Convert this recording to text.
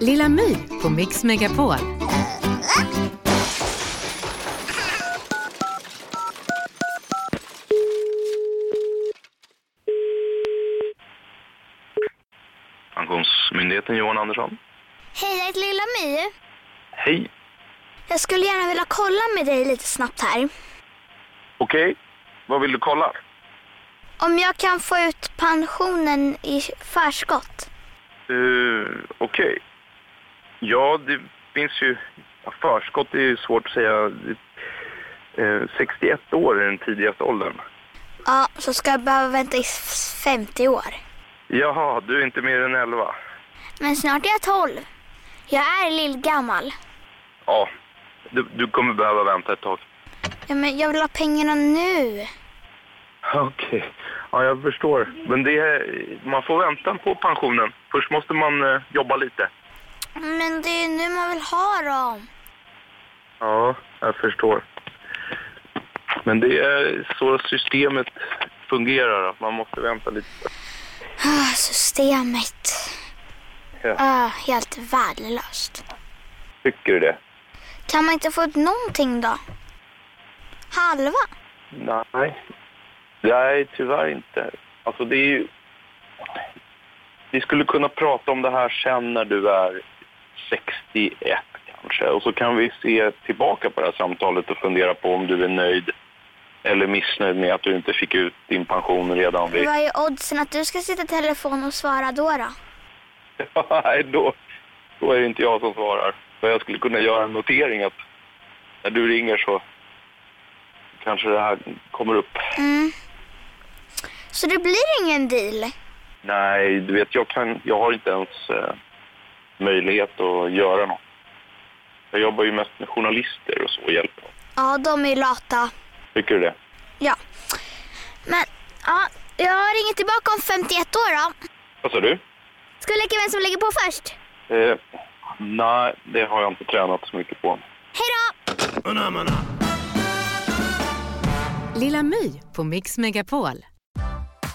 Lilla My på Mix Megapol. Pensionsmyndigheten Johan Andersson. Hej, jag heter Lilla My. Hej. Jag skulle gärna vilja kolla med dig lite snabbt här. Okej. Vad vill du kolla? Om jag kan få ut pensionen i förskott. Eh, Okej. Ja, det finns ju... ja, Förskott är ju svårt att säga. Eh, 61 år är den tidigaste åldern. Ja, så ska jag behöva vänta i f- 50 år. Jaha, du är inte mer än 11? Men snart är jag 12. Jag är lillgammal. Ja, du, du kommer behöva vänta ett tag. Ja, men jag vill ha pengarna nu. Okej. Ja, jag förstår. Men det, är- man får vänta på pensionen. Först måste man eh, jobba lite. Men det är nu man vill ha dem. Ja, jag förstår. Men det är så systemet fungerar, att man måste vänta lite. Ah, systemet. Ja. Ah, helt värdelöst. Tycker du det? Kan man inte få ut någonting då? Halva? Nej. Nej, tyvärr inte. Alltså det är ju... Vi skulle kunna prata om det här sen när du är 61 kanske. Och så kan vi se tillbaka på det här samtalet och fundera på om du är nöjd eller missnöjd med att du inte fick ut din pension redan vid... Vad är oddsen att du ska sitta i telefon och svara då? då? Nej, då, då är det inte jag som svarar. Men jag skulle kunna göra en notering att när du ringer så kanske det här kommer upp. Mm. Så det blir ingen deal? Nej, du vet, jag, kan, jag har inte ens eh, möjlighet att göra något. Jag jobbar ju mest med journalister och så och hjälper dem. Ja, de är lata. Tycker du det? Ja. Men, ja, jag ringer tillbaka om 51 år då. Vad sa du? Ska vi leka vem som lägger på först? Eh, nej, det har jag inte tränat så mycket på. Hej då! Lilla My på Mix Megapol.